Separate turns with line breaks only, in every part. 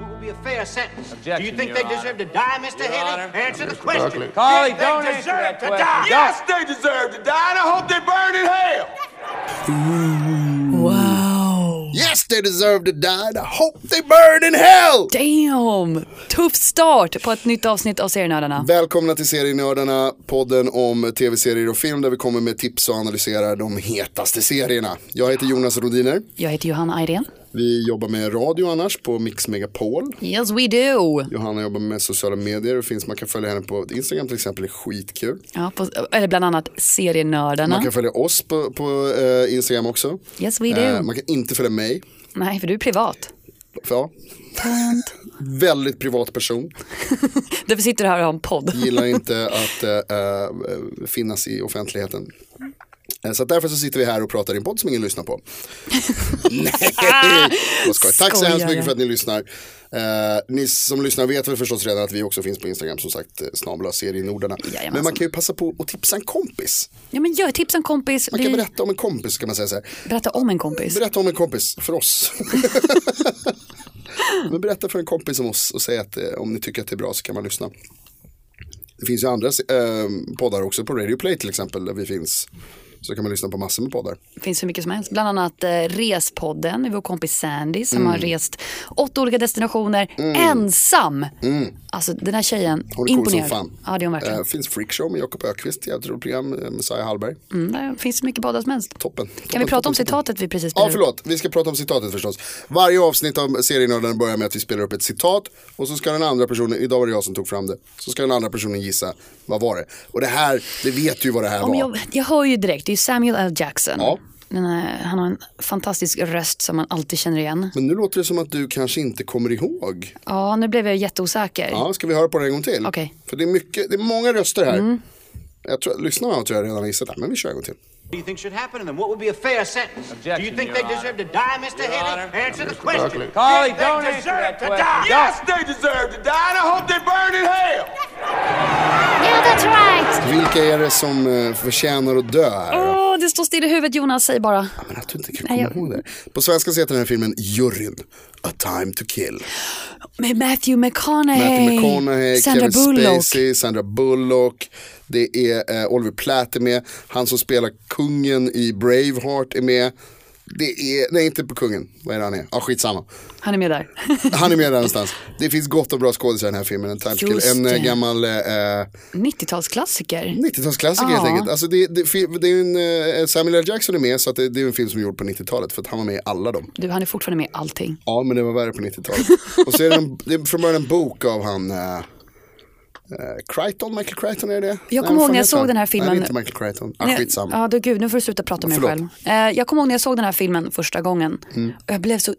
What would be a fair sentence? Do
Objection,
you think
Your
they
Honor.
deserve to die, Mr. Haley? Answer the question. Did
Carly,
they
don't answer
deserve
that
to
question.
die?
Yes, they deserve to die, and I hope they burn in hell.
Yes, they deserve to die. I hope they burn in hell!
Damn! Tuff start på ett nytt avsnitt av Serienördarna.
Välkomna till Serienördarna, podden om tv-serier och film där vi kommer med tips och analyserar de hetaste serierna. Jag heter Jonas Rodiner,
Jag heter Johanna Ayrén.
vi jobbar med radio annars på Mix Megapol.
Yes we do!
Johanna jobbar med sociala medier och finns, man kan följa henne på Instagram till exempel, det är skitkul.
Ja, på, eller bland annat Serienördarna.
Man kan följa oss på, på eh, Instagram också.
Yes we do.
Eh, man kan inte följa mig,
Nej, för du är privat.
för ja. Väldigt privat person,
Därför sitter du här och har en podd.
gillar inte att eh, eh, finnas i offentligheten. Eh, Så att därför så sitter vi här och pratar i en podd som ingen lyssnar på. Nej, vad skoj. Tack så
Skojar
hemskt mycket
jag.
för att ni lyssnar. Eh, ni som lyssnar vet väl förstås redan att vi också finns på Instagram som sagt, eh, snabla serienordarna.
Jajamensan.
Men man kan ju passa på att tipsa en kompis.
Ja, men gör tips en kompis.
Man kan
Vi-
berätta om en kompis kan man säga så här.
berätta om en kompis.
Berätta om en kompis för oss. Men berätta för en kompis om oss och säg att eh, om ni tycker att det är bra så kan man lyssna. Det finns ju andra eh, poddar också på Radio Play till exempel där vi finns. Så kan man lyssna på massor med poddar.
Det finns hur mycket som helst. Bland annat eh, Respodden med vår kompis Sandy
Mm.
som har rest åtta olika destinationer ensam. Alltså den här tjejen,
Mm. Hon är cool som
imponerad.
fan.
Ja, det är hon verkligen.
Eh, finns Freakshow med Jakob Ökvist, jävligt roligt program. eh, Messiah Hallberg,
Mm, där finns det mycket poddar som helst.
toppen.
Kan vi prata om citatet vi precis
Ja,
spelade upp?
förlåt. Vi ska prata om citatet förstås. Varje avsnitt av serienörden börjar med att vi spelar upp ett citat och så ska den andra personen, idag var det jag som tog fram det, så ska den andra personen gissa vad var det. Och det här, det vet ju vad det här
Ja,
var.
men jag, jag hör ju direkt, det är ju Samuel L. Jackson.
Ja.
Den här, han har en fantastisk röst som man alltid känner igen.
Men nu låter det som att du kanske inte kommer ihåg.
Ja, nu blev jag jätteosäker.
Ja, ska vi höra på det en gång till?
Okej. Mm.
För det är, mycket, det är många röster här. Jag tror, lyssnarna tror jag redan har gissat, det här, men vi kör en gång till.
do you think should happen to them? What would be a fair sentence? do
Objection,
you think
Your
they
Honor.
deserve to die, Mr. Haley? Answer the question.
Carly,
Did
don't answer
they deserve
that
to
question.
die?
Yes, they deserve to die, and I hope they burn in hell.
Vilka är det som eh, förtjänar att dö här? då?
Åh, det står still i huvudet Jonas, säg bara.
Men att du inte kan
Nej,
komma
jag-
ihåg det. På svenska så heter den här filmen Juryn, A time to kill.
Med Matthew McConaughey.
Matthew McConaughey,
Sandra
Kevin
Bullock.
Spacey, Sandra Bullock. Det är eh, Oliver Platt är med. Han som spelar kungen i Braveheart är med. Det är, nej inte på kungen, vad är det han är? Ja ah, skitsamma.
Han är med där.
Han är med där någonstans. Det finns gott och bra skådisar i den här filmen. En, Time to Kill.
Just
en eh,
det.
gammal eh,
90-talsklassiker.
90-talsklassiker helt
Ja.
enkelt. Alltså det, det, fi- det är en, eh, Samuel L. Jackson är med så att det, det är en film som är gjord på 90-talet för att han var med i alla dem.
Du, han är fortfarande med i allting.
Ja men det var värre på 90-talet. och så är det, en, det är från början en bok av han eh, eh, Crichton, Michael Crichton är det det
Jag
Nej, vad
kommer ihåg
fan
när jag
heter
såg
han?
den här filmen.
Nej, det är inte Michael Crichton. Ah,
Nej,
skitsamma.
Ja, då, gud, nu får du sluta prata om mig
Förlåt. Mm.
själv. Eh, jag kommer ihåg när jag såg den här filmen första gången. Och jag blev så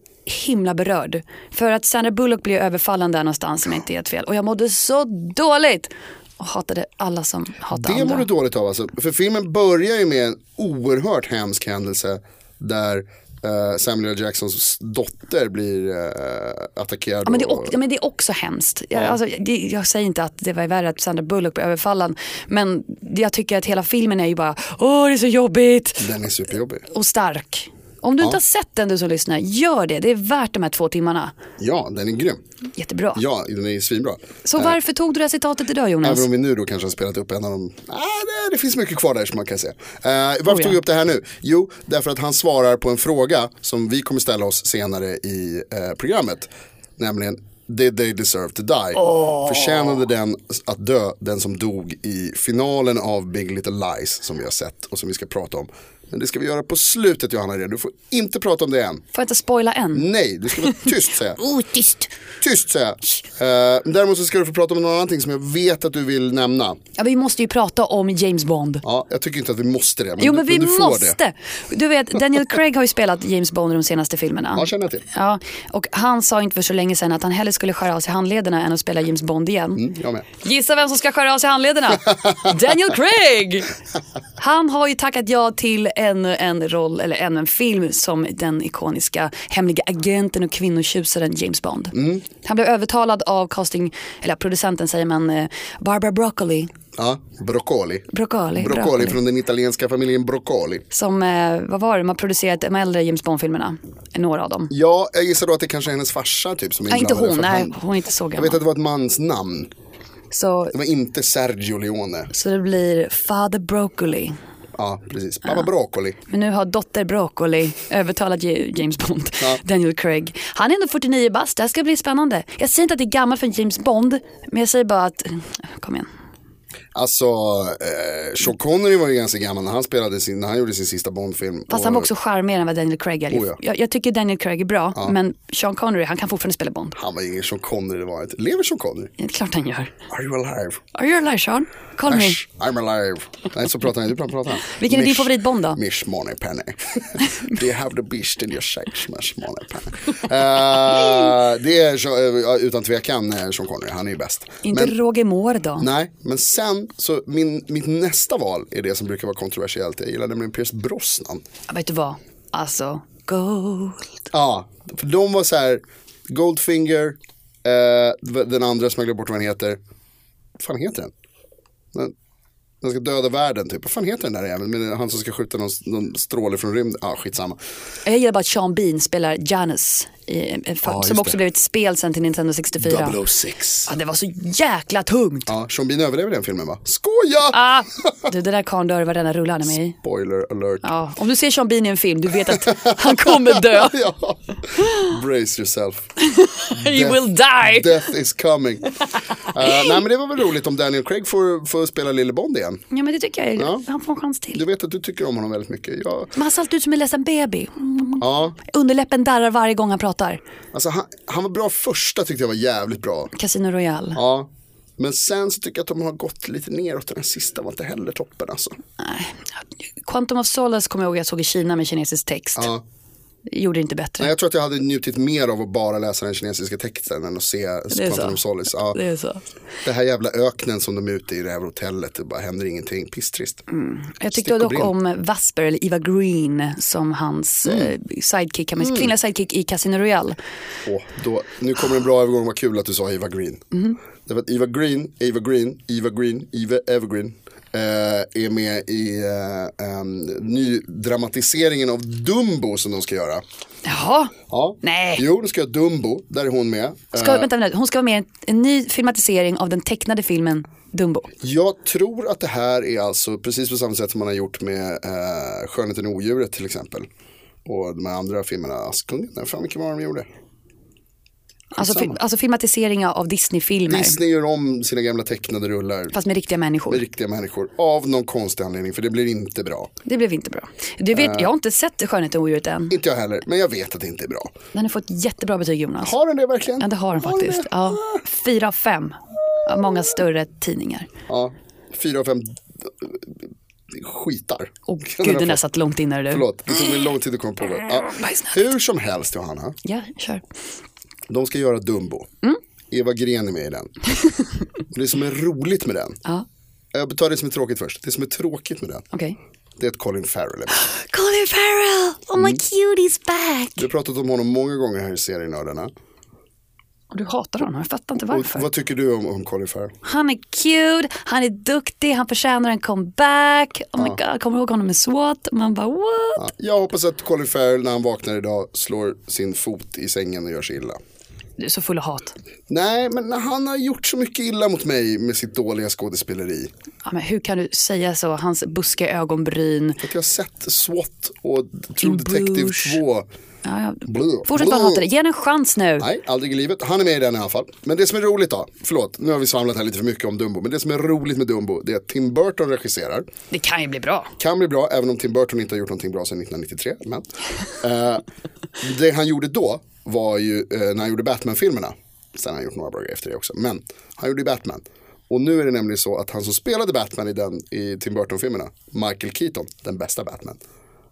himla berörd. För att Sandra Bullock blev överfallen där någonstans om jag inte är helt fel. Och jag mådde så dåligt. Och hatade alla som hatade
Det mår
andra.
du dåligt av alltså. För filmen börjar ju med en oerhört hemsk händelse där eh, Samuel L. Jacksons dotter blir eh, attackerad.
Ja, men, det är
och-
också, ja, men det är också hemskt. Jag, alltså, det, jag säger inte att det var värre att Sandra Bullock blev överfallen. Men jag tycker att hela filmen är ju bara, åh det är så jobbigt.
Den är superjobbig.
Och stark. Om du inte har sett den du som lyssnar, gör det. Det är värt de här två timmarna.
Ja, den är grym.
Jättebra.
Ja, den är svinbra.
Så varför tog du det här citatet idag Jonas?
Även om vi nu då kanske har spelat upp en av dem. Ah, nej, det finns mycket kvar där som man kan se. Eh, varför
ja.
tog vi upp det här nu? Jo, därför att han svarar på en fråga som vi kommer ställa oss senare i eh, programmet. Nämligen, did they deserve to die? Förtjänade den att dö, den som dog i finalen av Big Little Lies som vi har sett och som vi ska prata om Men det ska vi göra på slutet Johanna Red. Du får inte prata om det än.
Får jag inte spoila än?
Nej, du ska vara tyst säger jag.
Oh, tyst.
Tyst säger jag. Eh, däremot så ska du få prata om något annat som jag vet att du vill nämna.
Ja, vi måste ju prata om James Bond.
Ja, jag tycker inte att vi måste det.
Jo
du-
men vi
du får det.
måste. Du vet, Daniel Craig har ju spelat James Bond i de senaste filmerna.
Ja, känner jag till.
Ja, och han sa inte för så länge sedan att han hellre skulle skära av sig handlederna än att spela James Bond igen.
Jag med.
Gissa vem som ska skära av sig handlederna? Daniel Craig! Han har ju tackat ja till ännu en roll, eller ännu en film som den ikoniska hemliga agenten och kvinnotjusaren James Bond.
Mm.
Han blev övertalad av casting, eller producenten säger man, eh, Barbara Broccoli.
Ja, broccoli.
Broccoli.
Broccoli från den italienska familjen Broccoli.
Som, eh, vad var det, de har producerat de äldre James Bond-filmerna. Några av dem.
Ja, jag gissar då att det kanske är hennes farsa typ som är
Nej, inte
inblandad,
hon,
för att
nej,
han-
hon är inte så
Jag
gammal.
vet att det var ett mans namn.
Så,
Det var inte Sergio Leone.
så det blir Father Broccoli.
Ja, precis. Pappa Broccoli.
Men nu har dotter Broccoli övertalat J- James Bond, Daniel Craig. Han är ändå 49 bast, det här ska bli spännande. Jag säger inte att det är gammalt för en James Bond, men jag säger bara att, kom igen.
Alltså, eh, Sean Connery var ju ganska gammal när han, spelade sin, när han gjorde sin sista Bondfilm.
Fast
Och-
han var också charmigare än vad Daniel Craig är.
Oh ja.
jag, jag tycker Daniel Craig är bra, men Sean Connery, han kan fortfarande spela Bond.
Han var ingen Sean Connery, det var han inte. Lever Sean Connery?
Det är klart han gör.
Are you alive?
Are you alive Sean? Call me.
Ash, I'm alive. Nej, så pratar han inte. Hur pratar han?
Mm. Vilken är din favoritbond då?
Mish Moneypenny. Do you have the beast in your sex, Mish Moneypenny? Eh, det är Sean- eh, ja, utan tvekan eh, Sean Connery, han är ju bäst.
Inte
Men-
Roger Moore då?
Nej, men sen så min, mitt nästa val är det som brukar vara kontroversiellt. Jag gillar nämligen Pierce Brosnan.
Ja, Vet du vad? Alltså, gold.
Ja, för de var så här Goldfinger, eh, den andra som jag glömde bort vad den heter. Vad fan heter den? den? Den ska döda världen typ. Vad fan heter den där jäveln? Men det är Han som ska skjuta någon, någon stråle från rymden. Ja, ah, skitsamma.
Jag gillar bara att Sean Bean spelar Janus, i, en film
just
som också
det.
blev ett spel sen till Nintendo 64.
006.
Ja, det var så jäkla tungt.
Ja, Sean Bean överlever den filmen va? Skoja!
Ah, du, den där karln dör i varenda rulle han är med i.
Spoiler alert.
Ja, om du ser Sean Bean i en film, du vet att han kommer dö.
ja. Brace yourself.
He
Death-
will die.
Death is coming. Eh, nej men det var väl roligt om Daniel Craig får, får spela Lille Bond igen.
Ja, men det tycker jag. är-
Ja.
Han får en chans
Du
till.
vet att du tycker om honom väldigt mycket. Jag,
Men han ser alltid ut som en ledsen baby. Mm.
ja,
Underläppen darrar varje gång han pratar.
Alltså han, han var bra första tyckte jag var jävligt bra.
Casino Royale.
Ja. Men sen så tycker jag att de har gått lite neråt. Den här sista var inte heller toppen alltså.
Nej. Quantum of Solace kommer jag ihåg jag såg i Kina med kinesisk text.
Ja.
Gjorde det inte bättre.
Nej, jag tror att jag hade njutit mer av att bara läsa den kinesiska texten än att se Quantum
så.
of Solace. Ja.
Det är så.
Det här jävla öknen som de är ute i det här hotellet. Det bara händer ingenting. Pisstrist.
Jag
Stick
tyckte
och
dock
brinn.
om Vasper, eller Eva Green, som hans
Mm.
eh, sidekick, kan man- kvinnliga sidekick i Casino Royale.
Åh, då, nu kommer en bra övergång, vad kul att du sa Eva Green.
Mhm.
Därför att Eva Green, Eva Green, Eva Green, Eva Evergreen eh, är med i eh, em, nydramatiseringen av Dumbo som de ska göra.
Jaha,
Ja.
Nej.
Jo, de ska göra Dumbo, där är hon med. Eh,
Ska, vänta, vänta, hon ska vara med i en, en ny filmatisering av den tecknade filmen Dumbo.
jag tror att det här är alltså precis på samma sätt som man har gjort med eh, Skönheten och odjuret till exempel. Och de här andra filmerna, Askungen, nej, fan vilken var det de gjorde?
Alltså, fi,
Skitsamma.
alltså filmatiseringar av Disney-filmer.
Disney gör om sina gamla tecknade rullar.
Fast med riktiga människor.
med riktiga människor av någon konstig anledning för det blir inte bra.
Det blev inte bra. Du vet, jag har inte sett Skönheten och odjuret än.
Inte jag heller, men jag vet att det inte är bra.
Den har fått jättebra betyg Jonas.
Har den det verkligen?
Ja, det har den faktiskt.
det?
Ja, fyra av fem. Av många större tidningar.
Ja, fyra av fem eh, skitar.
Åh gud, den där satt långt inne du.
Förlåt, det tog mig lång tid att komma på det. Ja.
Bajsnödigt.
Hur som helst Johanna,
Ja, kör.
de ska göra Dumbo.
Mm.
Eva Gren är med i den. Och det som är roligt med den,
Ja,
jag tar det som är tråkigt först, det som är tråkigt med den,
okej.
det är att Colin Farrell är med. Mm.
Colin Farrell! Oh my cutie's back!
Vi har pratat om honom många gånger här i serienördarna.
Och du hatar honom, jag fattar inte
Och
varför.
vad tycker du om, om Colin Farrell?
Han är cute, han är duktig, han förtjänar en comeback. Oh my god, kommer du ihåg honom med SWAT? Man bara what?
Jag hoppas att Colin Farrell när han vaknar idag slår sin fot i sängen och gör sig illa.
Du är så full av hat.
Nej, men när han har gjort så mycket illa mot mig med sitt dåliga skådespeleri.
Ja, men hur kan du säga så? Hans buskiga ögonbryn.
För att jag har sett SWAT och True
In
Detective
Bruges.
2
Ja, ja.
Blå.
Fortsätt bara
Blå.
hata det. Ge den en chans nu.
Nej, aldrig i livet. Han är med i den i alla fall. Men det som är roligt då, förlåt, nu har vi svamlat här lite för mycket om Dumbo. Men det som är roligt med Dumbo, det är att Tim Burton regisserar.
Det kan ju bli bra.
Kan bli bra, även om Tim Burton inte har gjort någonting bra sedan 1993. Men, eh, det han gjorde då var ju eh, när han gjorde Batman-filmerna. Sen har han gjort några bra grejer efter det också. Men han gjorde ju Batman. Och nu är det nämligen så att han som spelade Batman i, den, i Tim Burton-filmerna, Michael Keaton, den bästa Batman,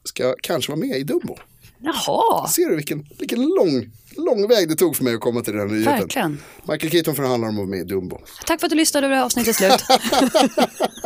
ska kanske vara med i Dumbo.
Jaha.
Ser du vilken, vilken lång, lång väg det tog för mig att komma till den här nyheten?
Verkligen.
Michael Keaton förhandlar om att vara med i Dumbo.
Tack för att du lyssnade och det här avsnittet är slut.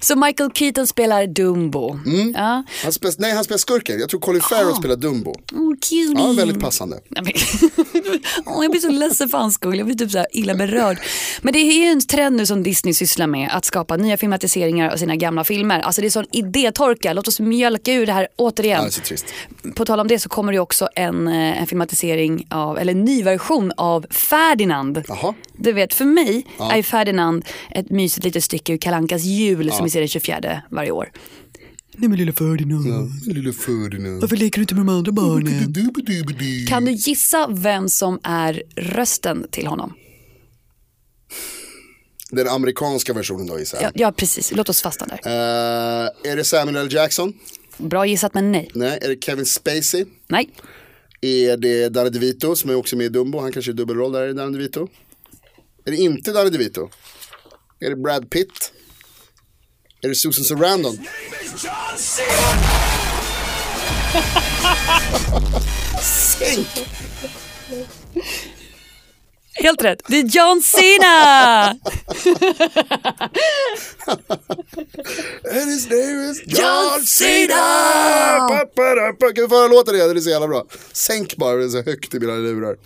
Så Michael Keaton spelar Dumbo.
Mm.
Ja.
Han spelar, nej, han spelar skurken. Jag tror Colin
Ah.
Farrell spelar Dumbo.
Oh, cutie.
Ja, väldigt passande.
Nej, men- Åh, jag blir så ledsen för hans skull, jag blir typ så här illa berörd. Men det är ju en trend nu som Disney sysslar med, att skapa nya filmatiseringar av sina gamla filmer. Alltså det är sån idétorka, låt oss mjölka ur det här återigen.
Ja, det är så trist.
På tal om det så kommer det också en, eh, en filmatisering av, eller en ny version av Ferdinand.
Jaha.
Du vet, för mig är ju Ferdinand ett mysigt litet stycke ur Kalankas jul som vi ser den 24 varje år. Nej men lilla Ferdinand,
Mm. Lille Ferdinand.
Varför leker du inte med de andra barnen?
kan du
Mm.
gissa vem som är rösten till honom?
Den amerikanska versionen då gissar jag.
Ja, ja precis, låt oss fastna där.
Eh, är det Samuel L. Jackson?
Bra gissat men nej.
Nej. Är det Kevin Spacey?
Nej,
Är det Danny DeVito som är också med i Dumbo? Han kanske är dubbelroll där. Är det Danny DeVito? Är det inte Danny DeVito? Är det Brad Pitt? Är det Susan Sarandon? Sänk!
helt rätt. Det är John Cena!
And his name is John Cena! Pa-pa-da-pa. Kan vi få höra låten igen? Den är så jävla bra. Sänk bara den så högt i mina lurar.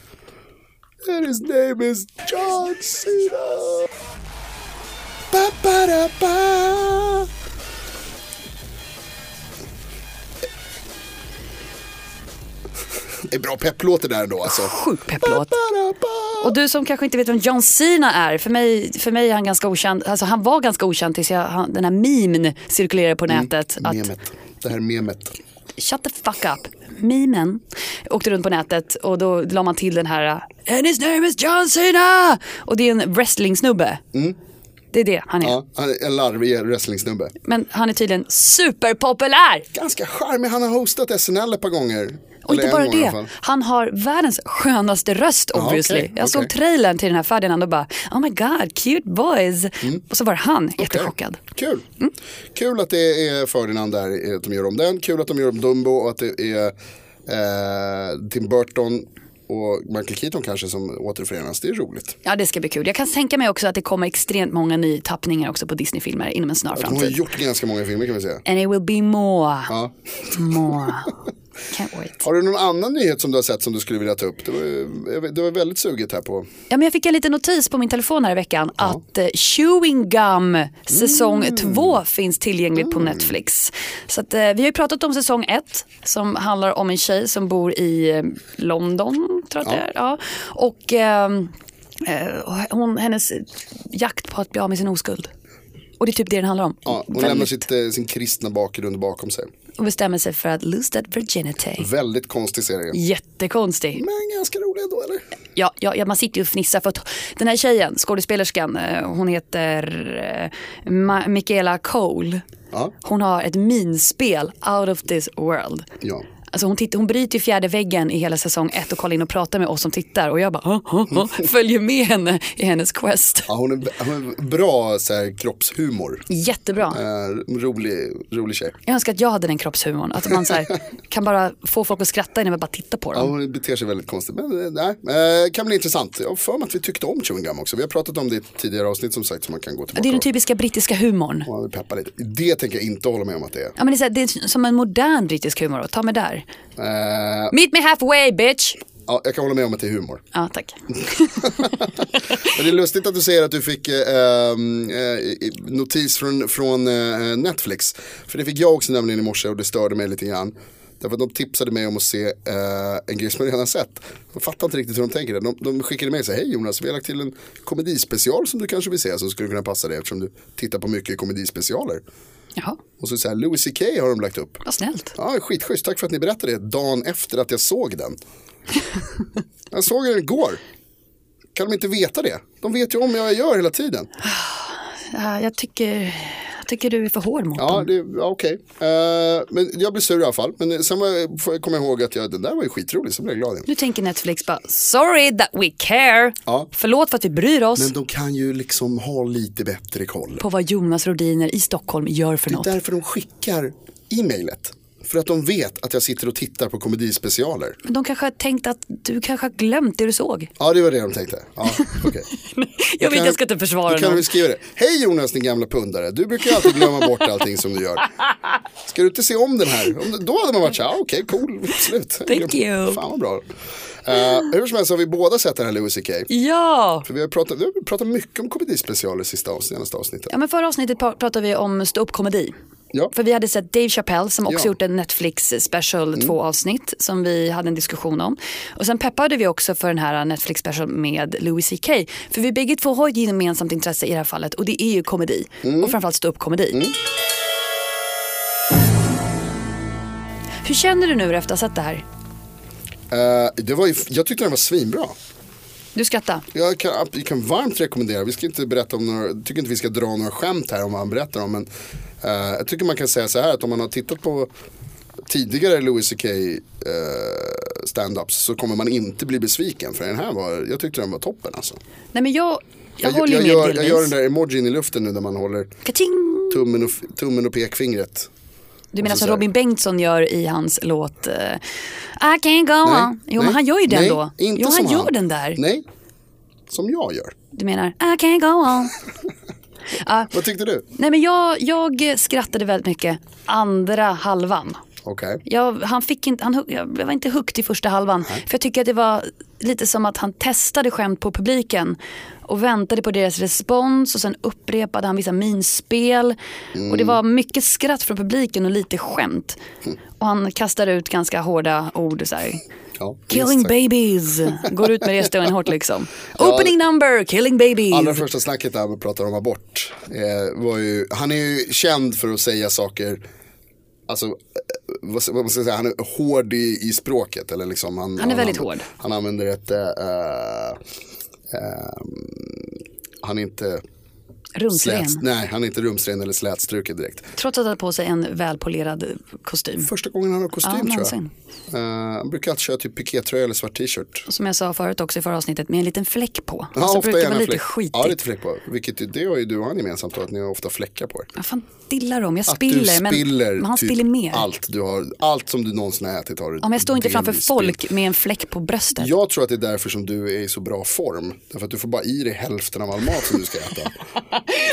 And his name is John Cena! Pa-pa-da-pa. Det är bra pepplåt det där ändå alltså.
Sjuk pepplåt.
Pa-pa-da-pa.
Och du som kanske inte vet vem John Cena är, för mig, för mig är han ganska okänd. Alltså han var ganska okänd tills jag, han, den här memen cirkulerade på nätet. Att,
Mm, Memet. Det här memet.
shut the fuck up. Memen åkte runt på nätet och då la man till den här And his name is John Cena! Och det är en wrestlingsnubbe. Det är det han är.
Mm. Ja, han är en larvig wrestlingsnubbe.
Men han är tydligen superpopulär.
ganska charmig. Han har hostat SNL ett par gånger.
Och inte
Eller en
bara
gång i alla
det,
fall.
han har världens skönaste röst
Ja,
obviously.
okej,
Jag såg
okej.
trailern till den här Ferdinand och bara oh my god, cute boys.
Mm.
Och så var det han, jättechockad. Mm.
Kul. Kul att det är Ferdinand där, eh, att de gör om den. Kul att de gör om Dumbo och att det är eh, Tim Burton och Michael Keaton kanske som återförenas. Det är roligt.
Ja det ska bli kul. Jag kan tänka mig också att det kommer extremt många nytappningar också på Disney-filmer inom en snar
De har ju
framtid.
gjort ganska många filmer kan vi säga.
And it will be more.
Ja.
More. Can't wait.
Har du någon annan nyhet som du har sett som du skulle vilja ta upp? Det var, ju- jag vet- det var väldigt suget här på.
Ja, men jag fick en liten notis på min telefon här i veckan att eh, Chewing Gum
Mm.
säsong 2 finns tillgängligt på Netflix. Så att, eh, vi har ju pratat om säsong 1 som handlar om en tjej som bor i eh, London tror jag att det är. Ja. Och ehm, eh, hon, hennes jakt på att bli av med sin oskuld. Och det är typ det den handlar om.
Ja, hon
Väldigt- Mm.
lämnar sitt, eh, sin kristna bakgrund bakom sig.
Hon bestämmer sig för att lose that virginity.
Väldigt konstig serie.
Jättekonstig.
Men ganska rolig ändå eller?
Ja, ja, ja, man sitter ju och fnissar för att den här tjejen, skådespelerskan, eh, hon heter eh, Ma- Michaela Cole.
Ja.
Hon har ett minspel out of this world.
Ja.
Alltså hon, tittar, hon bryter ju fjärde väggen i hela säsong ett och kollar in och pratar med oss som tittar och jag bara "Hå, hå, hå", följer med henne i hennes quest.
Ja, hon, är, hon är bra så här, kroppshumor.
Jättebra.
Eh, rolig, rolig tjej.
Jag önskar att jag hade den kroppshumorn. Att man så här, kan bara få folk att skratta innan man bara tittar på
Ja,
dem.
hon beter sig väldigt konstigt. Men eh, nej, eh, kan bli intressant. Jag har för mig att vi tyckte om chewing gum också. Vi har pratat om det i ett tidigare avsnitt som sagt. Så man kan gå tillbaka
Det är typ- den
och-
typiska brittiska humorn.
och man vill peppa lite. Det tänker jag inte hålla med om att det är.
Ja, men det, är så här, det är som en modern brittisk humor. då. Ta mig där.
Eh,
Meet me halfway bitch!
ja, jag kan hålla med om att det är humor.
Ja, tack.
Men det är lustigt att du säger att du fick eh, ehm, eh, notis från, från eh, Netflix. För det fick jag också nämligen i morse och det störde mig lite grann. Därför att de tipsade mig om att se eh, en grej som jag redan har sett. Jag fattar inte riktigt hur de tänker. där. De, de skickade mig och sa, hej Jonas, vi har lagt till en komedispecial som du kanske vill se. Som skulle kunna passa dig eftersom du tittar på mycket komedispecialer.
Jaha,
Och så, så här, Louis CK har de lagt upp.
vad snällt.
Ja, skitschysst. Tack för att ni berättade det dagen efter att jag såg den. jag såg den igår. Kan de inte veta det? De vet ju om vad jag gör hela tiden.
Ja, Eh, jag, tycker, jag tycker du är för hård mot
Ja,
dem.
det- ja, okej. Eh, men jag blev sur i alla fall. Men sen var jag, får jag komma ihåg att jag, den där var ju skitrolig, så blev jag glad igen.
Nu tänker Netflix bara, sorry that we care.
Ja.
Förlåt för att vi bryr oss
Men de kan ju liksom ha lite bättre koll.
på vad Jonas Rodiner i Stockholm gör för något.
Det är därför de skickar e-mailet. För att de vet att jag sitter och tittar på komedispecialer.
Men de kanske har tänkt att du kanske har glömt det du såg.
Ja, det var det de tänkte. Ja, okej.
Jag vet,
Kan-
jag ska inte försvara
Då kan
någon.
du skriva det. Hej Jonas din gamla pundare, du brukar ju alltid glömma bort allting som du gör. Ska du inte se om den här? Om det- Då hade man varit så här, "Ah, okej cool, slut.
Thank you.
Fan vad bra. Eh, hur som helst har vi båda sett den här Louis CK.
Ja!
För vi har pratat, vi har pratat mycket om komedispecialer sista avsnittet, senaste avsnittet.
Ja, men förra avsnittet pra- pratade vi om ståuppkomedi.
Ja.
För vi hade sett Dave Chappelle som också
Ja. Mm.
gjort en Netflix special, två avsnitt som vi hade en diskussion om. Och sen peppade vi också för den här Netflix special med Louis CK. För vi bägge två har ett gemensamt intresse i det här fallet och det är ju komedi.
Mm.
Och framförallt ståuppkomedi. Hur känner du nu efter att ha sett det här?
Eh, det var ju, jag tyckte den var svinbra.
Du skrattar.
Jag kan, jag kan varmt rekommendera, vi ska inte berätta om några, jag tycker inte vi ska dra några skämt här om vad han berättar om. Men eh, jag tycker man kan säga så här att om man har tittat på tidigare Louis CK eh, stand-ups så kommer man inte bli besviken. För den här var, jag tyckte den var toppen alltså.
Nej men jag, jag, håller
jag,
ju med
gör, jag
delvis.
gör den där emojin i luften nu när man håller
Ka-ting!
tummen och, f- tummen och pekfingret.
Du menar
så
som
så här.
Robin Bengtsson gör i hans låt eh, I can't go on. Jo men
nej,
han gör ju den
nej,
då.
Inte
jo
som
han gör den där.
Nej, som jag gör.
Du menar I can't go on. Ja,
Vad tyckte du?
nej men jag, jag skrattade väldigt mycket andra halvan.
Okej.
Jag, han fick inte, han, hu- jag var inte hooked i första halvan. För jag tycker att det var lite som att han testade skämt på publiken. Och väntade på deras respons och sen upprepade han vissa minspel. Och det
Mm.
var mycket skratt från publiken och lite skämt. Och han kastar ut ganska hårda ord. Så här.
Ja,
Killing
minst sagt.
babies. Går ut med det stenhårt liksom. Opening number, killing babies.
Allra första snacket där man pratar om abort eh, var ju, han är ju känd för att säga saker, alltså eh, vad, ska- vad ska jag säga, han är hård i, i språket eller liksom han,
Han är väldigt
använder-
hård.
Han använder ett, eh, eh, han är inte
Rumsren.
slät, nej han är inte rumsren eller slätstruken direkt.
Trots att han hade på sig en välpolerad kostym.
Första gången han har
Ja,
kostym tror jag.
någonsin.
Eh, han brukar alltid köra typ pikétröja eller svart t-shirt.
Som jag sa förut också i förra avsnittet, med en liten fläck på.
Ja, ofta
så Alltså, brukar det
gärna
vara lite
fläck.
skitigt.
Ja, lite fläck på. Vilket ju- det har ju du och han gemensamt då, att ni har ofta fläckar på er.
Vad fan dillar de? Jag
Att
spiller,
du spiller,
men, men han
typ
spiller mer.
Allt, du har, allt som du någonsin har ätit har du
Ja, men jag står inte framför
delvis
folk
spilt.
med en fläck på bröstet.
Jag tror att det är därför som du är i så bra form. Därför att du får bara i dig hälften av all mat som du ska äta.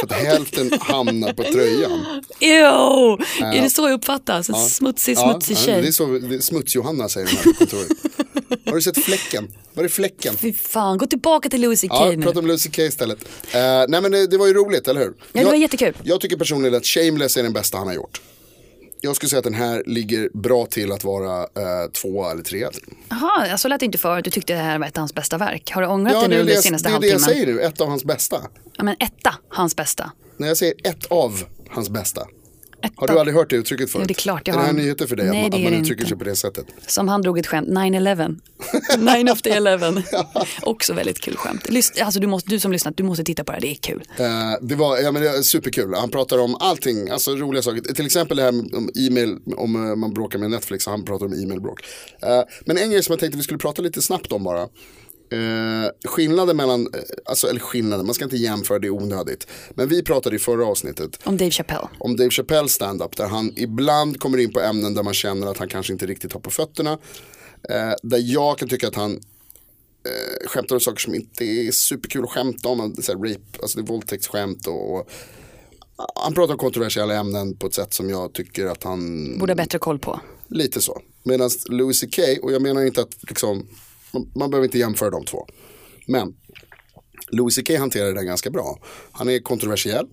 För att hälften hamnar på tröjan.
Ew! Är det så jag uppfattas? En smutsig, smutsig
ja, Det är
tjej.
så det är smuts-Johanna säger den här på kontoret. har du sett fläcken? Var är fläcken?
Fy fan, gå tillbaka till Louis CK
Ja,
nu.
prata om Lucy Kay istället. Eh, nej men det, det var ju roligt, eller hur?
det var jättekul.
Jag tycker personligen att Shameless är den bästa han har gjort. Jag skulle säga att den här ligger bra till att vara eh, två eller tre.
Jaha, jag så lät det inte förut. Du tyckte det här var ett av hans bästa verk. Har du ångrat det
det
nu
är det,
den
jag-
senaste
det, är det
halvtimmen?
jag säger nu, ett av hans bästa.
Ja, men etta, hans bästa.
När jag säger ett av hans bästa.
Etta.
Har du aldrig hört det uttrycket förut?
Jo, det är klart jag
är det här
har.
nyheter för dig
Nej,
att, man-
det
att
är
man
det
uttrycker
inte.
sig på det sätet?
Som han drog ett skämt, 9-11. 9 after 11. Också väldigt kul skämt. Lys- alltså, du, måste, du som lyssnat, du måste titta på det här, det är kul.
Eh, det var ja, men det är superkul. Han pratar om allting, alltså roliga saker. Till exempel det här med om e-mail, om eh, man bråkar med Netflix, och han pratar om e-mailbråk. Eh, men en grej som jag tänkte vi skulle prata lite snabbt om bara. Eh, skillnaden mellan, eh, alltså, eller skillnaden, man ska inte jämföra det är onödigt. Men vi pratade i förra avsnittet
Om Dave Chappelle.
om Dave Chappelle stand-up där han ibland kommer in på ämnen där man känner att han kanske inte riktigt har på fötterna. Eh, där jag kan tycka att han eh, skämtar om saker som inte är superkul att skämta om. Så här, rape, alltså det är våldtäktsskämt och, och han pratar om kontroversiella ämnen på ett sätt som jag tycker att han
Borde ha bättre koll på.
Lite så. Medan Louis CK, och jag menar inte att liksom, man, man behöver inte jämföra de två. Men Louis CK hanterar det där ganska bra. Han är kontroversiell,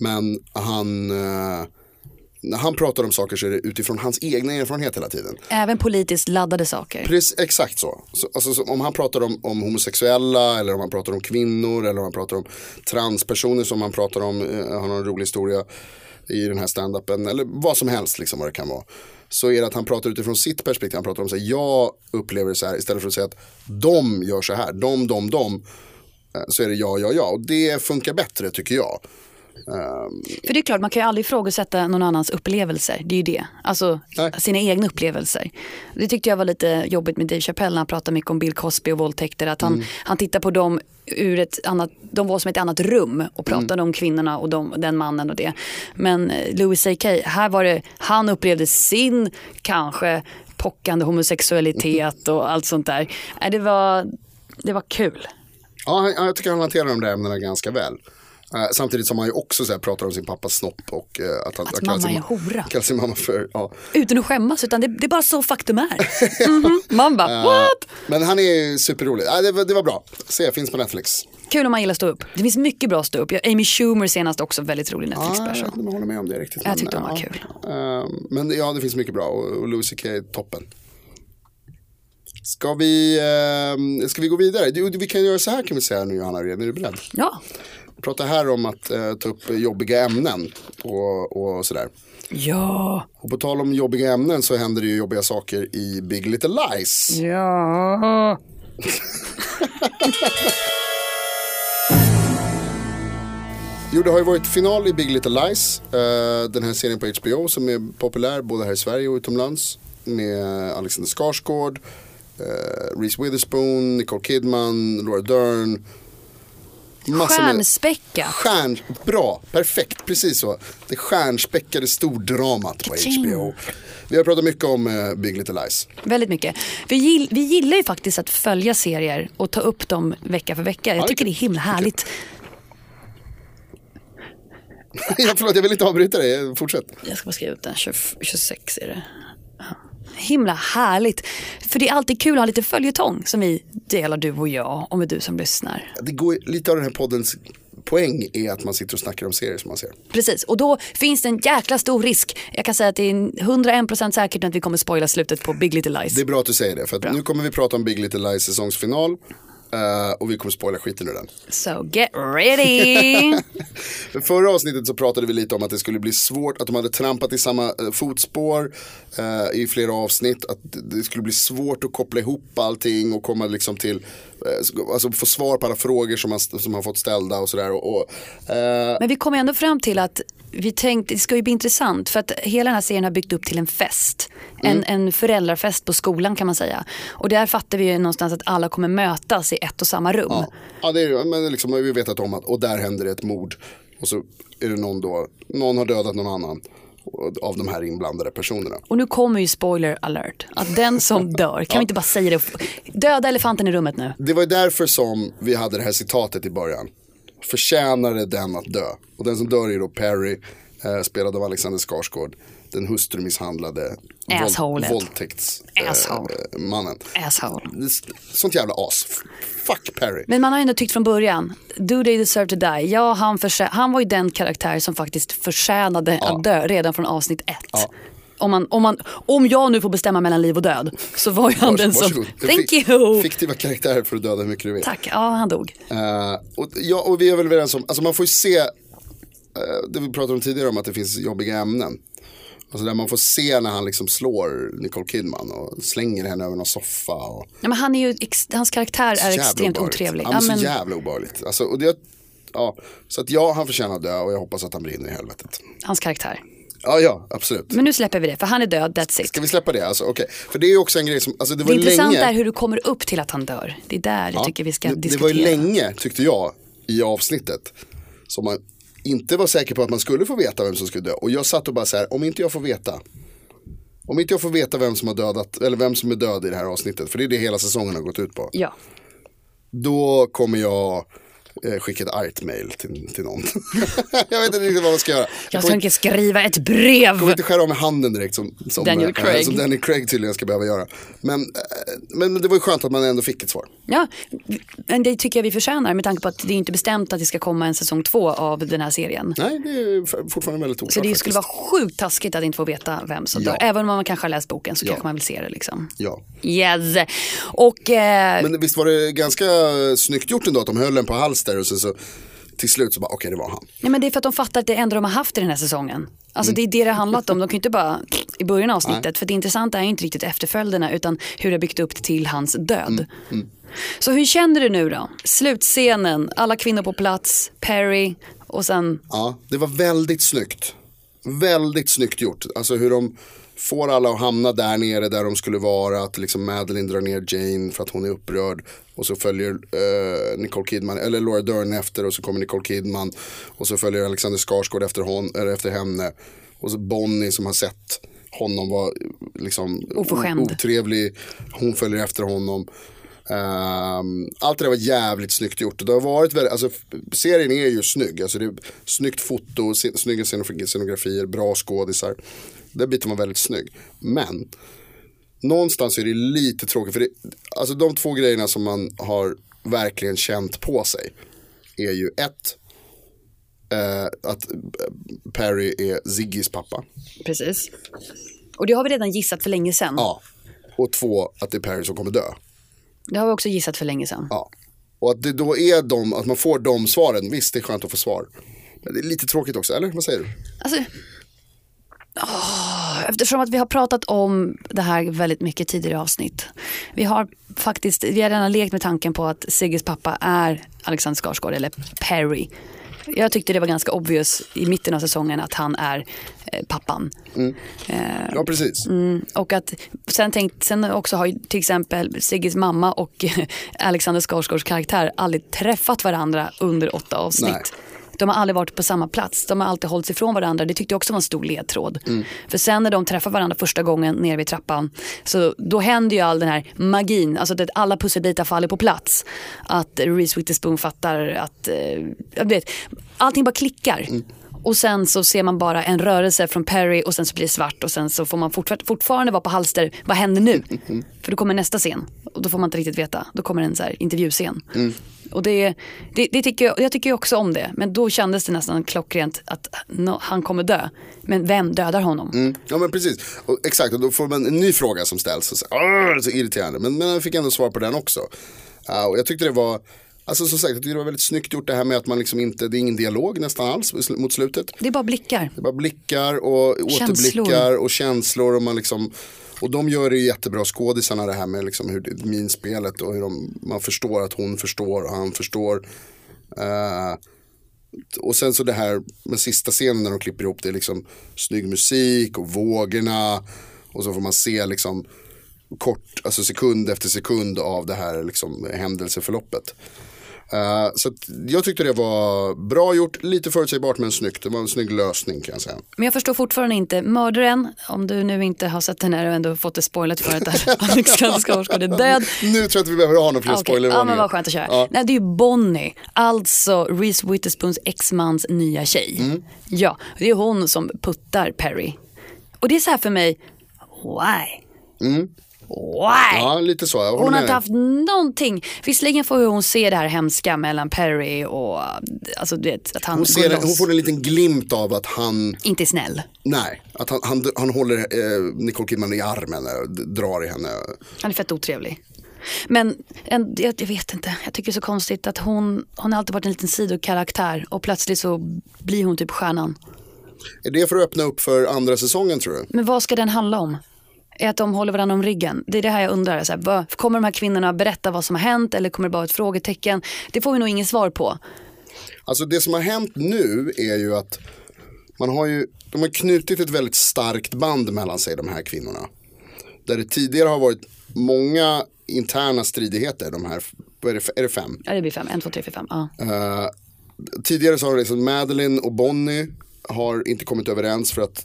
men han, eh, när han pratar om saker så är det utifrån hans egna erfarenhet hela tiden.
Även politiskt laddade saker.
Precis, exakt så. så, alltså, så om han pratar om, om homosexuella eller om han pratar om kvinnor eller om han pratar om transpersoner som han pratar om, eh, har någon rolig historia. i den här standupen eller vad som helst liksom vad det kan vara. Så är det att han pratar utifrån sitt perspektiv, han pratar om så här, jag upplever det så här istället för att säga att de gör så här, de, de, de. eh, Så är det ja, ja, ja och det funkar bättre tycker jag.
För det är klart, man kan ju aldrig ifrågasätta någon annans upplevelser. Det är ju det. Alltså
Nej.
sina egna upplevelser. Det tyckte jag var lite jobbigt med Dave Chappelle när han pratade mycket om Bill Cosby och våldtäkter. Att han, han tittar på dem ur ett annat, de var som ett annat rum och pratade om kvinnorna och de, den mannen och det. Men eh, Louis CK, här var det, han upplevde sin kanske pockande homosexualitet och allt sånt där. Nej, Det var, det var kul.
Ja, han- ja, jag tycker han hanterar de där ämnena ganska väl. Eh, samtidigt som han ju också så här, pratar om sin pappas snopp och eh, att, han,
Att
han
mamma
sin
är en hora.
Kallar sin mamma för, ja.
Utan att skämmas, utan det, det är bara så faktum är. Mhm. Man bara, what?
Eh, Men han är ju superrolig. Ah, det, var- det var bra. Se, finns på Netflix.
Kul om man gillar stå upp. Det finns mycket bra stå upp. Jag- Amy Schumer senast också, väldigt rolig Netflix
Ah, jag vet
special.
inte om jag håller med om det riktigt.
Jag tyckte de var
ja.
kul.
Ehm, men ja, det finns mycket bra och, och Louis CK är toppen. Ska vi, ehm, ska vi gå vidare? Du, vi kan göra så här kan vi säga nu Johanna, Rehn. är du beredd?
Ja,
Prata här om att eh, ta upp jobbiga ämnen och, och sådär.
ja,
Och på tal om jobbiga ämnen så händer det ju jobbiga saker i Big Little Lies.
ja.
Jo, det har ju varit final i Big Little Lies. eh, den här serien på HBO som är populär både här i Sverige och utomlands. Med Alexander Skarsgård, eh, Reese Witherspoon, Nicole Kidman, Laura Dern. Massor med-
Stjärnspäckat.
Stjärn, bra, perfekt, precis så. Det stjärnspäckade stordramat på
Ka-ching.
HBO. Vi har pratat mycket om eh, Big Little Lies.
Väldigt mycket. Vi, gill, vi gillar ju faktiskt att följa serier och ta upp dem vecka för vecka. Jag
det
tycker det är himla härligt.
ja, förlåt, jag vill inte avbryta dig, fortsätt.
Jag ska bara skriva upp den, 20, 26 är det. Ja. Himla härligt. För det är alltid kul att ha lite följetong som vi delar du och jag och med du som lyssnar.
Det går, ju- lite av den här poddens poäng är att man sitter och snackar om serier som man ser.
Precis, och då finns det en jäkla stor risk. Jag kan säga att det är 101% säkert att vi kommer spoila slutet på Big Little Lies.
Det är bra att du säger det, för att nu kommer vi prata om Big Little Lies säsongsfinal. eh, och vi kommer spoila skiten ur den.
So get ready!
För förra avsnittet så pratade vi lite om att det skulle bli svårt, att de hade trampat i samma eh, fotspår eh, i flera avsnitt. Att det skulle bli svårt att koppla ihop allting och komma liksom till, eh, alltså få svar på alla frågor som man, som man fått ställda och sådär. Och, och, eh,
Men vi kom ändå fram till att vi tänkte det ska ju bli intressant för att hela den här serien har byggt upp till en fest.
Mm.
En, en föräldrafest på skolan kan man säga. Och där fattar vi ju någonstans att alla kommer mötas i ett och samma rum.
Ja, ja det är, ju- men liksom, vi vet att om att, och där händer det ett mord. Och så är det någon då, någon har dödat någon annan och- av de här inblandade personerna.
Och nu kommer ju spoiler alert. Att den som dör, kan vi inte bara säga det? Döda elefanten i rummet nu.
Det var ju därför som vi hade det här citatet i början. Förtjänade den att dö. Och den som dör är då Perry, eh, spelad av Alexander Skarsgård. Den hustrumisshandlade
Assholet. Asshole.
våldtäktsmannen.
Asshole.
Sånt jävla as. Fuck Perry.
Men man har ju ändå tyckt från början, do they deserve to die? Ja, han, försä- han var ju den karaktär som faktiskt förtjänade att dö redan från avsnitt ett. Om, man, om, man, om jag nu får bestämma mellan liv och död så var ju han den som...
Varsågod.
Thank
Fick-
you!
Fiktiva karaktärer för att döda hur mycket du vill.
Tack, ja han dog.
Eh, och, ja, och vi är väl överens om, alltså man får ju se, eh, det vi pratade om tidigare om att det finns jobbiga ämnen. Alltså där man får se när han liksom slår Nicole Kidman och slänger henne över någon soffa. Och,
Ja, men han är ju ex- hans karaktär
Så
är
jävla
extremt
obehagligt.
otrevlig.
Ja, men så jävla obehagligt. Alltså, och det, ja, så att ja, han förtjänar att dö och jag hoppas att han brinner i helvetet.
hans karaktär.
Ja, ja, absolut.
Men nu släpper vi det, för han är död, that's it.
Ska vi släppa det? Alltså, okej. För det är ju också en grej som, alltså det var
Det
ju
intressanta
länge.
är hur du kommer upp till att han dör. Det är där jag
Ja,
tycker vi ska
det, det
diskutera.
var ju länge, tyckte jag, i avsnittet som man inte var säker på att man skulle få veta vem som skulle dö. Och jag satt och bara så här, om inte jag får veta. Om inte jag får veta vem som har dödat, eller vem som är död i det här avsnittet, för det är det hela säsongen har gått ut på.
Ja.
Då kommer jag eh, skicka ett argt mail till, till någon. jag vet inte riktigt vad man ska göra.
Jag
kommer,
tänker skriva ett brev.
kommer inte skära av mig handen direkt som, som,
Daniel
eh,
Craig.
som Daniel Craig tydligen ska behöva göra. Men, eh, men det var ju skönt att man ändå fick ett svar.
Ja, men det tycker jag vi förtjänar med tanke på att det är inte bestämt att det ska komma en säsong två av den här serien.
Nej, det är fortfarande väldigt oklart
Så det
faktiskt.
skulle vara sjukt taskigt att inte få veta vem som
Ja.
dör. Även om man kanske har läst boken så
Ja.
kanske man vill se det liksom.
Ja.
Yes! Och eh,
Men visst var det ganska snyggt gjort ändå att de höll den på halster och sen så till slut så bara, okej det var han.
Nej men det är för att de fattar att det är det enda de har haft i den här säsongen. Alltså det är det det har handlat om. De kan ju inte bara i början av avsnittet. För det intressanta är ju inte riktigt efterföljderna utan hur det har byggt upp till hans död.
Mm,
Så hur känner du nu då? Slutscenen, alla kvinnor på plats, Perry och sen,
Ja, det var väldigt snyggt. Väldigt snyggt gjort. Alltså hur de får alla att hamna där nere där de skulle vara. Att liksom Madeline drar ner Jane för att hon är upprörd. Och så följer eh, Nicole Kidman, eller Laura Dern efter och så kommer Nicole Kidman. Och så följer Alexander Skarsgård efter, hon, eller efter henne. Och så Bonnie som har sett honom vara eh, liksom
Oförskämd.
o- otrevlig. Hon följer efter honom. Ehm, allt det där var jävligt snyggt gjort. Det har varit väldigt, alltså, f- serien är ju snygg. Alltså, det är snyggt foto, sce- snygga scenografi- scenografier, bra skådisar. Den biten var väldigt snygg. Men någonstans är det lite tråkigt. För det, alltså, de två grejerna som man har verkligen känt på sig är ju ett, eh, att eh, Perry är Ziggys pappa.
precis. Och det har vi redan gissat för länge sedan.
Ja. Och två, att det är Perry som kommer dö.
Det har vi också gissat för länge sedan.
Ja. Och att det då är de, att man får de svaren, visst det är skönt att få svar. Men det är lite tråkigt också, eller vad säger du?
Alltså, åh, eftersom att vi har pratat om det här väldigt mycket tidigare avsnitt. Vi har faktiskt, vi har redan lekt med tanken på att Sigges pappa är Alexander Skarsgård eller Perry. Jag tyckte det var ganska obvious i mitten av säsongen att han är eh, pappan.
Ja, precis. Mm.
Och att sen, tänkt, sen också har ju till exempel Sigges mamma och Alexander Skarsgårds karaktär aldrig träffat varandra under åtta avsnitt. De har aldrig varit på samma plats, de har alltid hållit ifrån varandra. Det tyckte jag också var en stor ledtråd. För sen när de träffar varandra första gången nere vid trappan, så då händer ju all den här magin, alltså att alla pusselbitar faller på plats. Att Reese Witherspoon fattar att, eh, jag vet, allting bara klickar. Och sen så ser man bara en rörelse från Perry och sen så blir det svart och sen så får man fortfar- fortfarande vara på halster. Vad händer nu? För då kommer nästa scen och då får man inte riktigt veta. Då kommer en så här intervjuscen. Och det, det, det tycker jag, jag tycker ju också om det. Men då kändes det nästan klockrent att nå- han kommer dö. Men vem dödar honom?
Ja, men precis. Och, exakt, och då får man en ny fråga som ställs. Och så, "Arr!" så irriterande. Men, men jag fick ändå svar på den också. Ja, och jag tyckte det var, alltså som sagt, jag tyckte det var väldigt snyggt gjort det här med att man liksom inte, det är ingen dialog nästan alls i sl- mot slutet.
Det är bara blickar.
Det är bara blickar och
Känslor.
återblickar och känslor. Och, man liksom, och de gör det ju jättebra skådisarna det här med liksom hur, det- minspelet och hur de, man förstår att hon förstår och han förstår. Eh, och sen så det här med sista scenen när de klipper ihop det är liksom snygg musik och vågorna. Och så får man se liksom kort, alltså sekund efter sekund av det här liksom händelseförloppet. Eh, så att jag tyckte det var bra gjort, lite förutsägbart men snyggt. Det var en snygg lösning kan jag säga.
Men jag förstår fortfarande inte, mördaren, om du nu inte har sett den här och ändå fått det spoilat för att Alexander Skarsgård är död.
Nu tror jag att vi behöver ha någon fler
Ah, okej.
spoiler
Ja men vad skönt att köra. Nej det är ju Bonnie, alltså Reese Witherspoons exmans nya tjej.
Mm.
Ja, det är hon som puttar Perry. Och det är så här för mig, why? Why?
Mm. Ja, lite så. Jag håller
Hon har
med
inte
dig.
haft någonting. Visserligen får hon se det här hemska mellan Perry och alltså, du vet, att han
hon, ser,
går
hon
loss.
får en liten glimt av att han,
Inte är snäll.
nej, att han, han, han håller eh, Nicole Kidman i armen eh, och d- drar i henne.
Han är fett otrevlig. Men en, jag, jag vet inte, jag tycker det är så konstigt att hon, hon har alltid varit en liten sidokaraktär och plötsligt så blir hon typ stjärnan.
Är det för att öppna upp för andra säsongen tror du?
Men vad ska den handla om? Är att de håller varandra om ryggen? Det är det här jag undrar. Så här, vad- kommer de här kvinnorna berätta vad som har hänt eller kommer det bara ett frågetecken? Det får vi nog inget svar på.
Alltså det som har hänt nu är ju att man har ju, de har knutit ett väldigt starkt band mellan sig de här kvinnorna. Där det tidigare har varit många interna stridigheter, de här, vad är det, är det fem?
Ja, det blir fem. En, två, tre, fyra, fem. Ja.
Eh, tidigare så har liksom Madeline och Bonnie har inte kommit överens för att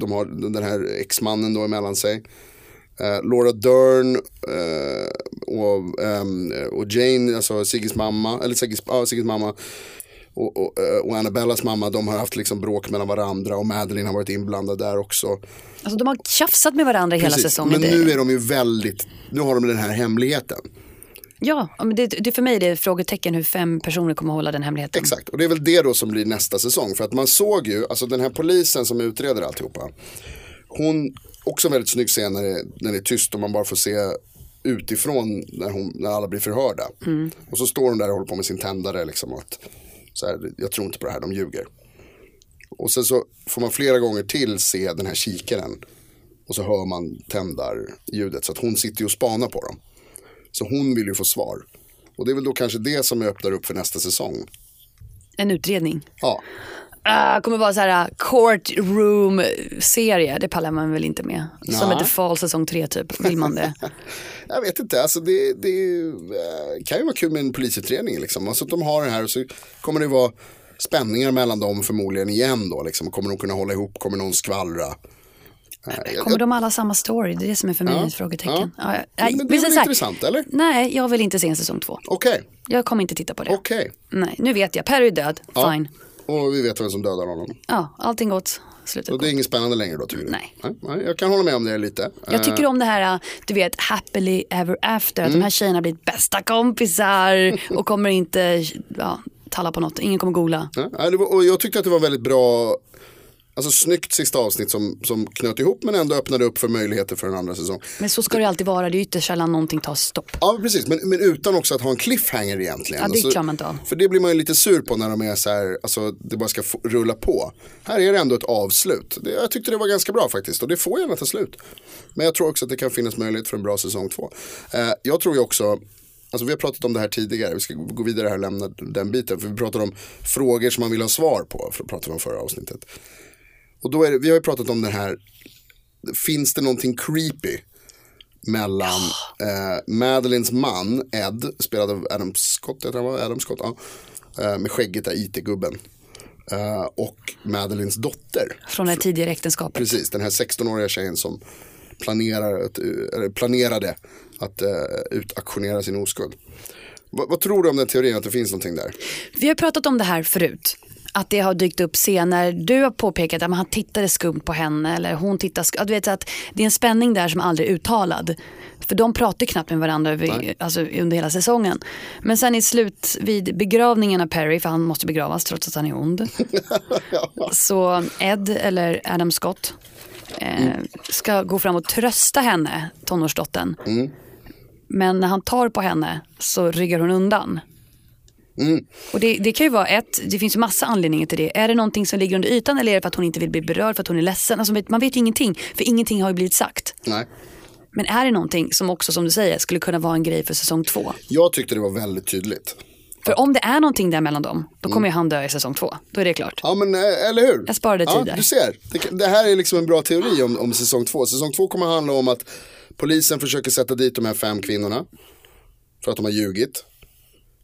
de har den här exmannen då emellan sig. Eh, Laura Dern eh, och, ehm, och Jane, alltså Sigges mamma, eller Sigges, ja, Sigges mamma och, och, eh, och Annabellas mamma, de har haft liksom bråk mellan varandra och Madeline har varit inblandad där också.
Alltså, de har tjafsat med varandra hela
Precis,
säsongen.
Men
Det-
nu är de ju väldigt, nu har de den här hemligheten.
Ja, men det, det, för mig det är ett frågetecken hur fem personer kommer hålla den hemligheten.
Exakt, och det är väl det då som blir nästa säsong. För att man såg ju, alltså den här polisen som utreder alltihopa. Hon, också en väldigt snygg scen när det, när det är tyst och man bara får se utifrån när, hon, när alla blir förhörda. Och så står hon där och håller på med sin tändare liksom. Och att, Så här, jag tror inte på det här, de ljuger. Och sen så får man flera gånger till se den här kikaren. Och så hör man tändarljudet. Så att hon sitter ju och spanar på dem. Så hon vill ju få svar. Och det är väl då kanske det som öppnar upp för nästa säsong.
En utredning.
Ja,
Ah, kommer vara så här courtroom-serie. Det pallar man väl inte med. Som
Nej.
heter Fall säsong 3 typ. Vill man det?
jag vet inte. Alltså det det är ju, eh, kan ju vara kul med en polisutredning. Liksom. Alltså att de har det här och så kommer det vara spänningar mellan dem förmodligen igen då. Liksom. Kommer de kunna hålla ihop? Kommer någon skvallra? Eh, jag-
Kommer de alla ha samma story? Det är det som är för mig
Ja.
ett frågetecken.
Ja.
Ja. Ja,
Men det är väl
men så här-
intressant, eller?
Nej, jag vill inte se en säsong två.
Okej,
Jag kommer inte titta på det.
okej.
Nej, nu vet jag. Perry är död.
Ja.
Fine.
Och vi vet vem som dödar honom.
Ja, allting gott. Slutet
Och det är inget spännande längre då tycker du?
Nej.
nej, jag kan hålla med om det lite.
Jag
Eh, Mm.
tycker om det här, du vet, happily ever after. Att de här tjejerna blir bästa kompisar och kommer inte ja, talla på något. Ingen kommer gola.
Ja, ja, Eh, det var, och jag tyckte att det var väldigt bra, alltså snyggt sista avsnitt som, som knöt ihop men ändå öppnade upp för möjligheter för en andra säsong.
Men så ska det ju alltid vara. Det är ytterst sällan någonting tar stopp.
Ja men precis, men, men utan också att ha en cliffhanger egentligen. Alltså,
Ja, det klarar man inte av.
För det blir man ju lite sur på när de är så här, alltså det bara ska få, rulla på. Här är det ändå ett avslut. Det, jag tyckte det var ganska bra faktiskt och det får gärna ta slut. Men jag tror också att det kan finnas möjlighet för en bra säsong två. Eh, jag tror ju också, alltså vi har pratat om det här tidigare, vi ska gå vidare här och lämna den biten. För vi pratar om frågor som man vill ha svar på, för det pratade vi om förra avsnittet. Och då är det, vi har ju pratat om den här, finns det någonting creepy mellan eh, Madeleines man Ed, spelad av Adam Scott, jag tror han var, Adam Scott, ja, eh, med skägget där, IT-gubben. Eh, och Madeleines dotter,
Från det här tidigare äktenskapet.
precis, den här 16-åriga tjejen som planerar att, eh, eller planerade att uh, utaktionera sin oskuld. Vad- vad tror du om den teorin att det finns någonting där?
Vi har pratat om det här förut. Att det har dykt upp scener. Du har påpekat att han tittade skumt på henne eller hon tittade skumt. Du vet att det är en spänning där som aldrig är uttalad. För de pratar knappt med varandra över, alltså, under hela säsongen. Men sen i slut vid begravningen av Perry, för han måste begravas trots att han är ond. Så Ed eller Adam Scott eh, ska gå fram och trösta henne, tonårsdottern. Men när han tar på henne så ryggar hon undan. Och det, det kan ju vara ett, det finns ju massa anledningar till det. Är det någonting som ligger under ytan eller är det för att hon inte vill bli berörd, för att hon är ledsen? Alltså, man vet ju ingenting, för ingenting har ju blivit sagt.
Nej.
Men är det någonting som också, som du säger, skulle kunna vara en grej för säsong två?
Jag tyckte det var väldigt tydligt.
För om det är någonting där mellan dem, då kommer ju han dö i säsong två. Då är det klart.
Ja men eh, eller hur.
Jag sparade tid
ja,
där.
Du ser, det, kan- det här är liksom en bra teori om, om säsong två. Säsong två kommer handla om att polisen försöker sätta dit de här fem kvinnorna. För att de har ljugit.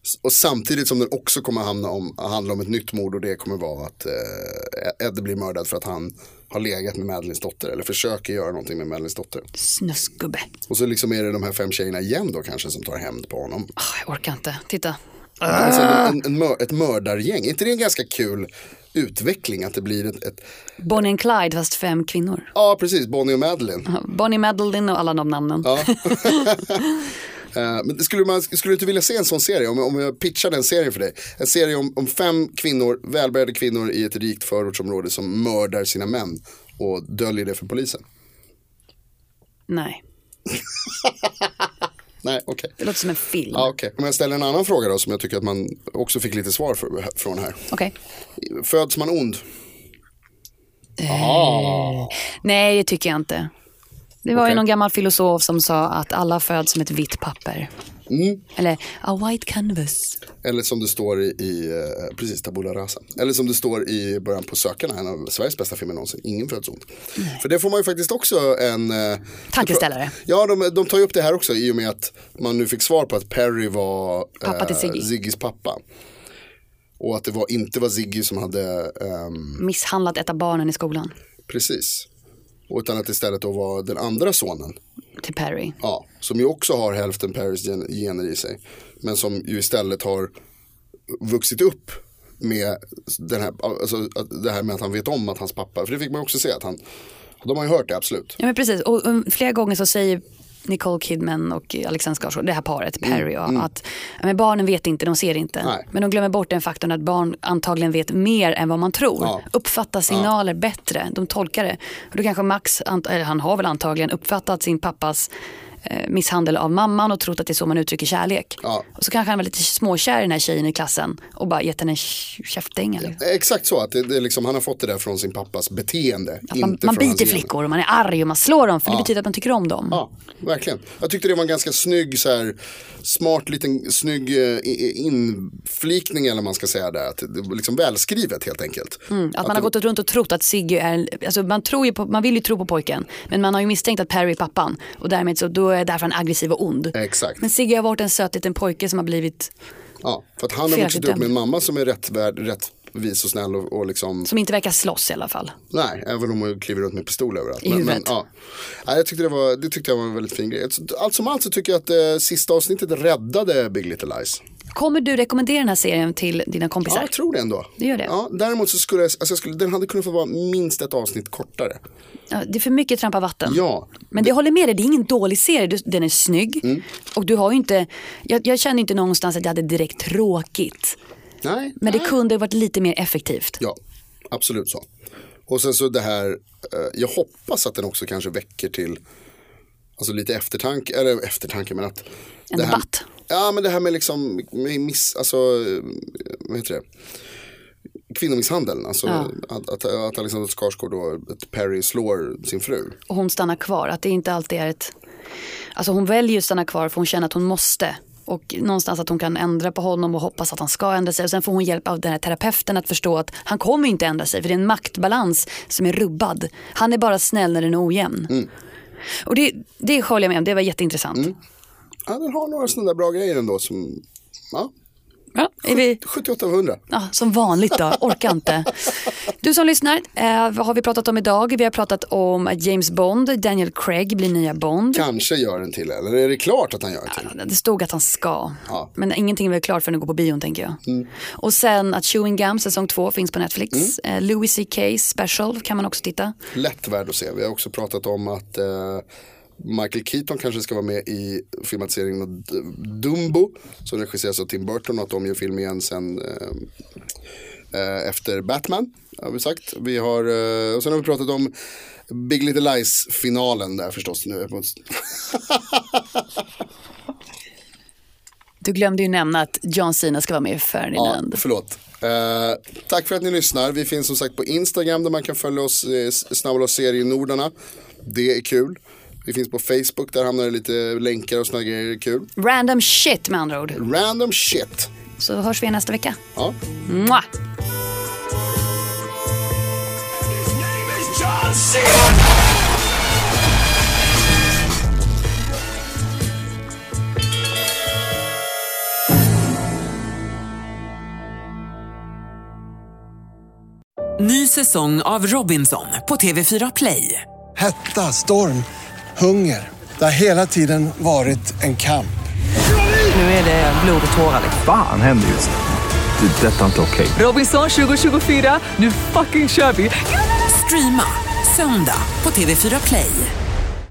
S- Och samtidigt som den också kommer hamna om, handla om ett nytt mord och det kommer vara att eh, Ed blir mördad för att han har legat med Madeleines dotter eller försöker göra någonting med Madeleines dotter.
Snuskgubbe.
Och så liksom är det de här fem tjejerna igen då kanske som tar hämnd på honom.
Ah, jag orkar inte. Titta.
Alltså
Ah.
en, en, en mör, ett mördargäng, är inte det en ganska kul utveckling att det blir ett, ett
Bonnie and Clyde, fast fem kvinnor.
Ja, precis. Bonnie och Madeleine.
Bonnie Madeline och alla de namnen.
Ja. Eh, Men skulle, man, skulle du inte vilja se en sån serie? Om, om jag pitchar den serien för dig. En serie om, om fem kvinnor, välbärgade kvinnor i ett rikt förortsområde som mördar sina män och döljer det för polisen.
Nej,
Nej, okej.
det låter som en film.
Ja, okej. Om jag ställer en annan fråga då som jag tycker att man också fick lite svar för, från här.
Okej.
Föds man ond?
Nej, det tycker jag inte. Det var
Okej.
ju någon gammal filosof som sa att alla föds som ett vitt papper. Eller a white canvas.
Eller som det står i, i eh, precis, Tabula Rasa. Eller som det står i början på Sökarna, en av Sveriges bästa filmer någonsin. Ingen föds ond. För det får man ju faktiskt också en... eh,
Tankeställare.
Ja, de, de tar ju upp det här också i och med att man nu fick svar på att Perry var eh,
Pappa till Ziggy.
Ziggys pappa. Och att det var, inte var Ziggy som hade, ehm,
Misshandlat ett av barnen i skolan
precis. Utan att det istället då var den andra sonen.
till Perry.
Ja, som ju också har hälften Perrys gen- gener i sig. Men som ju istället har vuxit upp med den här, alltså, att- det här med att han vet om att hans pappa, för det fick man ju också se att han, de har ju hört det absolut.
Ja, men precis. Och, um, flera gånger så säger Nicole Kidman och Alexander Skarsgård, det här paret, Perry, och att ja, men barnen vet inte, de ser inte.
Mm, Nej.
Men de glömmer bort den faktorn att barn antagligen vet mer än vad man tror.
Ja.
Uppfattar signaler bättre, de tolkar det. Och då kanske Max, ant- eller han har väl antagligen uppfattat sin pappas eh, misshandel av mamman och trott att det är så man uttrycker kärlek.
Ja.
Och så kanske han var lite småkär i den här tjejen i klassen och bara gett henne en kä- käftdänga. liksom.
Exakt så, att det, det är liksom, han har fått det där från sin pappas beteende.
Att man,
inte
man
från hans
biter
gener.
flickor och man är arg och man slår dem för det betyder att man tycker om dem.
Ja, verkligen. Jag tyckte det var en ganska snygg, så här, smart liten snygg eh, i- inflikning eller vad man ska säga där. Att det var liksom välskrivet helt enkelt.
Mm, Att, man har gått runt och trott att Sigge är, en- alltså man, tror ju på, man vill ju tro på pojken men man har ju misstänkt att Perry är pappan och därmed så då är därför han aggressiv och ond.
Exakt.
Men Sigge har varit en söt liten pojke som har blivit,
Ja, för att han har
Felaktigt
vuxit upp med en
dömd.
mamma som är rättvärd, rättvis och snäll och, och liksom,
som inte verkar slåss i alla fall.
nej, även om hon kliver runt med pistol överallt.
I huvudet.
ja. nej, jag tyckte det, var, det tyckte jag var en väldigt fin grej. Allt som allt så tycker jag att eh, sista avsnittet räddade Big Little Lies.
Kommer du rekommendera den här serien till dina
Ja,
kompisar?
jag tror det ändå.
Det gör det.
Ja, däremot så skulle, jag- alltså jag skulle den hade kunnat få vara minst ett avsnitt kortare.
Ja, det är för mycket trampa vatten.
Ja.
Men det jag håller med dig, det är ingen dålig serie. Du- Den är snygg.
Mm.
Och du har ju inte, jag, jag känner inte någonstans att jag hade direkt tråkigt.
Nej.
Men det kunde ha varit lite mer effektivt.
Ja, absolut så. Och sen så det här, eh, jag hoppas att den också kanske väcker till alltså lite eftertanke, eller eftertanke men att.
En
det här,
debatt.
Ja men det här med liksom, med miss, alltså, eh, vad heter det? Kvinnomisshandeln, alltså
Ja.
att, att, att Alexander Skarsgård och att Perry slår sin fru.
Och hon stannar kvar. Att det inte alltid är ett... Alltså hon väljer att stanna kvar för hon känner att hon måste. Och någonstans att hon kan ändra på honom och hoppas att han ska ändra sig. Och sen får hon hjälp av den här terapeuten att förstå att han kommer inte ändra sig. För det är en maktbalans som är rubbad. Han är bara snäll när den är ojämn. Och det, det håller jag med om, det var jätteintressant.
Ja, den har några sådana där bra grejer ändå som, ja,
Ja, är vi...
78 av 100.
Ja, som vanligt då, orkar inte. Du som lyssnar, eh, vad har vi pratat om idag? Vi har pratat om att James Bond, Daniel Craig blir nya Bond.
Kanske gör en till, eller är det klart att han gör en till?
Det stod att han ska.
Typ. Ja. Mm.
Men ingenting är väl klart förrän du går på bion tänker jag. Och sen att Chewing Gum säsong två finns på Netflix.
Mm.
Eh, Louis CK special kan man också titta.
lätt värd att se. Vi har också pratat om att eh, Michael Keaton kanske ska vara med i filmatiseringen av D- Dumbo som regisseras av Tim Burton och att de gör film igen sen eh, eh, efter Batman. Har vi sagt. Vi har, eh, och sen har vi pratat om Big Little Lies-finalen där förstås. Nu. är jag på-
Du glömde ju nämna att John Cena ska vara med i
Ja,
Ferdinand.
förlåt. Eh, tack för att ni lyssnar. Vi finns som sagt på Instagram där man kan följa oss, eh, snabbla oss serienordarna. Det är kul. Vi finns på Facebook, där hamnar det lite länkar och sådana grejer, det är kul.
Random shit med andra ord.
Random shit.
Så hörs vi nästa vecka.
Ja.
Mwah!
His name is John Cena.
Ny säsong av Robinson på TV4 Play.
Hetta, storm, hunger. Det har hela tiden varit en kamp.
Nu är det blod och tårar. liksom.
Fan händer just det. Det är detta inte okej.
Robinson 2024, nu fucking kör vi! Streama söndag på TV4 Play.